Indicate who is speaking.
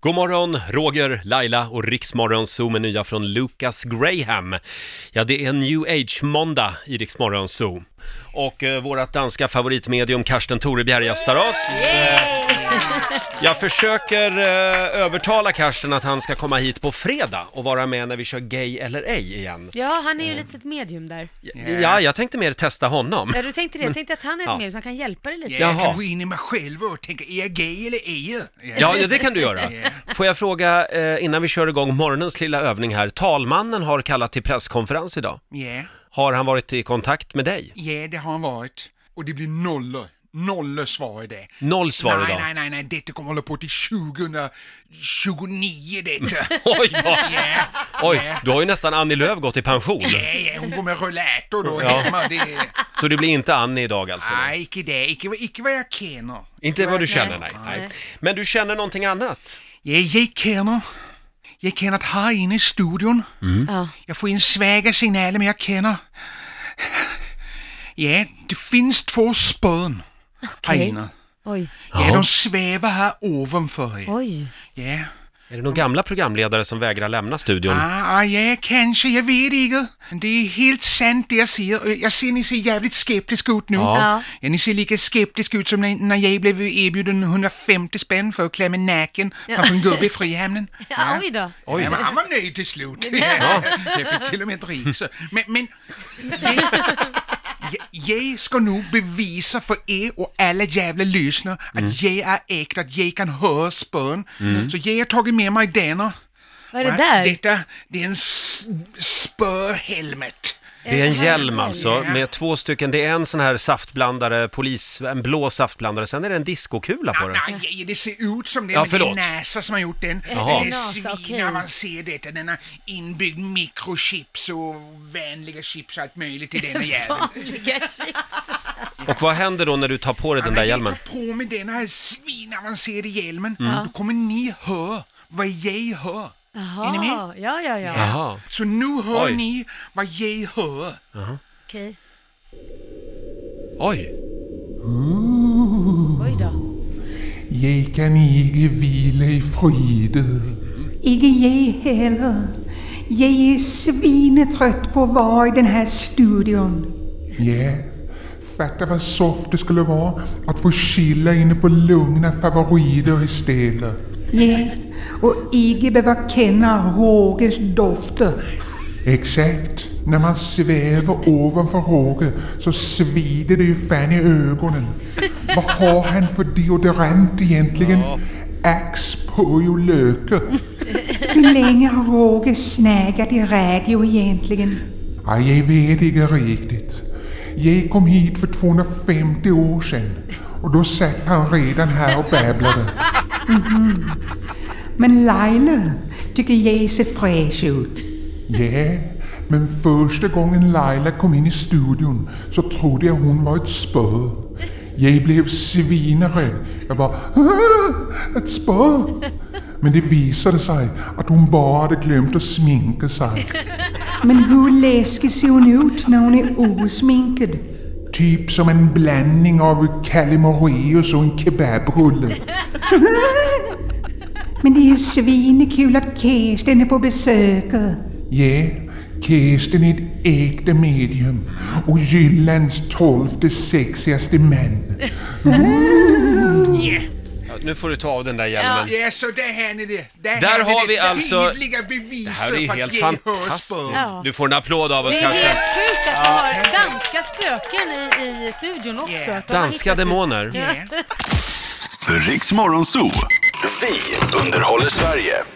Speaker 1: God morgon, Roger, Laila och Riksmorgon Zoo med nya från Lucas Graham. Ja, det är New Age-måndag i Riksmorgon Zoo. Och eh, vårt danska favoritmedium Karsten Torebjer gästar oss. Jag försöker eh, övertala Karsten att han ska komma hit på fredag och vara med när vi kör Gay eller ej igen.
Speaker 2: Ja, han är ju lite ett medium där.
Speaker 1: Eh. Ja, jag tänkte mer testa honom.
Speaker 2: Ja, du tänkte det. Jag tänkte att han är ett
Speaker 1: Ja.
Speaker 2: medium som kan hjälpa dig lite.
Speaker 1: Ja.
Speaker 3: Jag
Speaker 1: Jaha.
Speaker 3: kan gå in i mig själv och tänka, är jag gay eller är jag?
Speaker 1: Ja, ja, det kan du göra.
Speaker 3: Ja.
Speaker 1: Får jag fråga, eh, innan vi kör igång morgonens lilla övning här. Talmannen har kallat till presskonferens idag.
Speaker 3: Ja,
Speaker 1: Har han varit i kontakt med dig?
Speaker 3: ja, det har han varit. Och det blir nollor. Nollor svar i det.
Speaker 1: Noll svar
Speaker 3: nej,
Speaker 1: idag.
Speaker 3: nej, nej, nej, detta kommer hålla på till 2029 detta.
Speaker 1: Oj då!
Speaker 3: Ja,
Speaker 1: Oj, du har ju nästan Annie Lööf gått i pension.
Speaker 3: ja, ja, hon går med rullator då
Speaker 1: Ja.
Speaker 3: hemma. Det...
Speaker 1: Så det blir inte Annie idag alltså?
Speaker 3: Nej, icke det. Icke, icke vad jag känner.
Speaker 1: Inte vad du känner, nej.
Speaker 2: Nej.
Speaker 1: nej.
Speaker 2: Nej.
Speaker 1: Men du känner någonting annat?
Speaker 3: Ja, jag känner. Jag känner att här inne i studion
Speaker 2: Ja.
Speaker 3: Jag får in svaga signaler, men jag känner... Ja, det finns två spön här
Speaker 2: Okej.
Speaker 3: inne.
Speaker 2: Oj,
Speaker 3: Ja,
Speaker 1: Ja.
Speaker 3: de svävar här ovanför er.
Speaker 2: oj.
Speaker 3: Ja.
Speaker 1: Är det någon gamla programledare som vägrar lämna studion?
Speaker 3: Ah, ah, ja, kanske. Jag vet inte. Men Det är helt sant det Øh, jag säger. Jag ser ni ser jävligt skeptiska ut nu.
Speaker 1: Ja.
Speaker 2: Ja.
Speaker 3: Ja, ni ser lika skeptiska ut som när, när jag blev erbjuden 150 spänn för att klä mig naken framför en gubbe i Frihamnen.
Speaker 2: Ja, ah, oj då.
Speaker 1: Oj.
Speaker 3: Ja, men han var nöjd till slut. Ja. Jag fick till och med ett ris. Men, men jag, jag- jag ska nog bevisa för er och alla jävla lyssnare att
Speaker 1: Mm.
Speaker 3: jag är äkta, att jag kan höra spön. Så jag har tagit med mig denna.
Speaker 2: Vad är det där?
Speaker 3: Detta, det är en s- spörhelmet.
Speaker 1: Det är en hjälm alltså,
Speaker 3: Ja.
Speaker 1: med två stycken. Det är en sån här saftblandare, polis, en blå saftblandare. Sen är det en diskokula på den.
Speaker 3: Nej, nej, det ser ut som det,
Speaker 1: Ja,
Speaker 3: men det
Speaker 1: förlåt.
Speaker 3: är NASA som har gjort den.
Speaker 1: Jaha.
Speaker 3: Den är
Speaker 2: NASA, okej.
Speaker 3: svinavancerad detta, den har inbyggd mikrochips och vänliga chips och allt möjligt i denna jäveln.
Speaker 2: Vanliga chips.
Speaker 1: Och vad händer då när du tar på dig den där
Speaker 3: Men
Speaker 1: hjälmen? Mm.
Speaker 3: Jag tar på mig den här svinavancerade hjälmen, då kommer ni höra vad jag hör. Är ni med?
Speaker 2: Jaha, ja, ja, ja.
Speaker 1: Jaha.
Speaker 3: Så nu hör
Speaker 1: Oj.
Speaker 3: ni vad jag hör.
Speaker 2: Okej.
Speaker 1: Oj!
Speaker 2: Oj då.
Speaker 3: Jag kan inte vila i frid.
Speaker 4: Ikke jeg heller. Jeg er svinetrøtt på å være i denne studioen.
Speaker 5: Ja, fatta vad soft det skulle vara att få chilla inne på lugna favoriter istället.
Speaker 4: Jeg og ikke behøver kjenne Rogers dofter.
Speaker 5: Exakt. När man svävar ovanför Roger så svider det ju fan i ögonen. Vad har han för deodorant egentligen? Axe, purj och löke.
Speaker 4: Hvor lenge har Roger snakket i radio egentlig?
Speaker 5: Ja, jag vet inte riktigt. Jag kom hit för 250 år sedan och då satt han redan här och babblade.
Speaker 4: Men Laila tycker jeg ser fresh ut.
Speaker 5: Ja, men första gången Laila kom in i studion så trodde jag hon var ett spö. Jag blev svinrädd. Jag bara "Ah, ett spö. Men det visade sig att hon bara hade glömt att sminka sig.
Speaker 4: Men hvordan leskes hun ut når hun er usminket?
Speaker 5: Typ som en blandning av Kalle Moraeus och en kebabrulle.
Speaker 4: Men det er svinekul at Kirsten er på besøket.
Speaker 5: Ja, Kirsten är ett ägda medium och Jyllands tolfte sexigaste man.
Speaker 1: Ja, nu får du ta av den där hjälmen.
Speaker 3: Ja, så där har ni det. Där,
Speaker 1: Där
Speaker 3: ni
Speaker 1: har
Speaker 3: det.
Speaker 1: vi alltså-
Speaker 3: Tydliga
Speaker 1: Det här är
Speaker 3: beviset
Speaker 1: ju
Speaker 3: på att
Speaker 1: helt
Speaker 3: jag hör spön.
Speaker 1: fantastiskt.
Speaker 2: Ja.
Speaker 1: Du får en applåd av oss
Speaker 2: Det är
Speaker 1: Karsten.
Speaker 2: helt sjukt att vi har danska spöken i, i studion också.
Speaker 3: Yeah.
Speaker 2: Att de har
Speaker 1: Danska
Speaker 2: hittat-
Speaker 1: demoner.
Speaker 3: Ja.
Speaker 6: Riks Morgonzoo. Vi underhåller Sverige.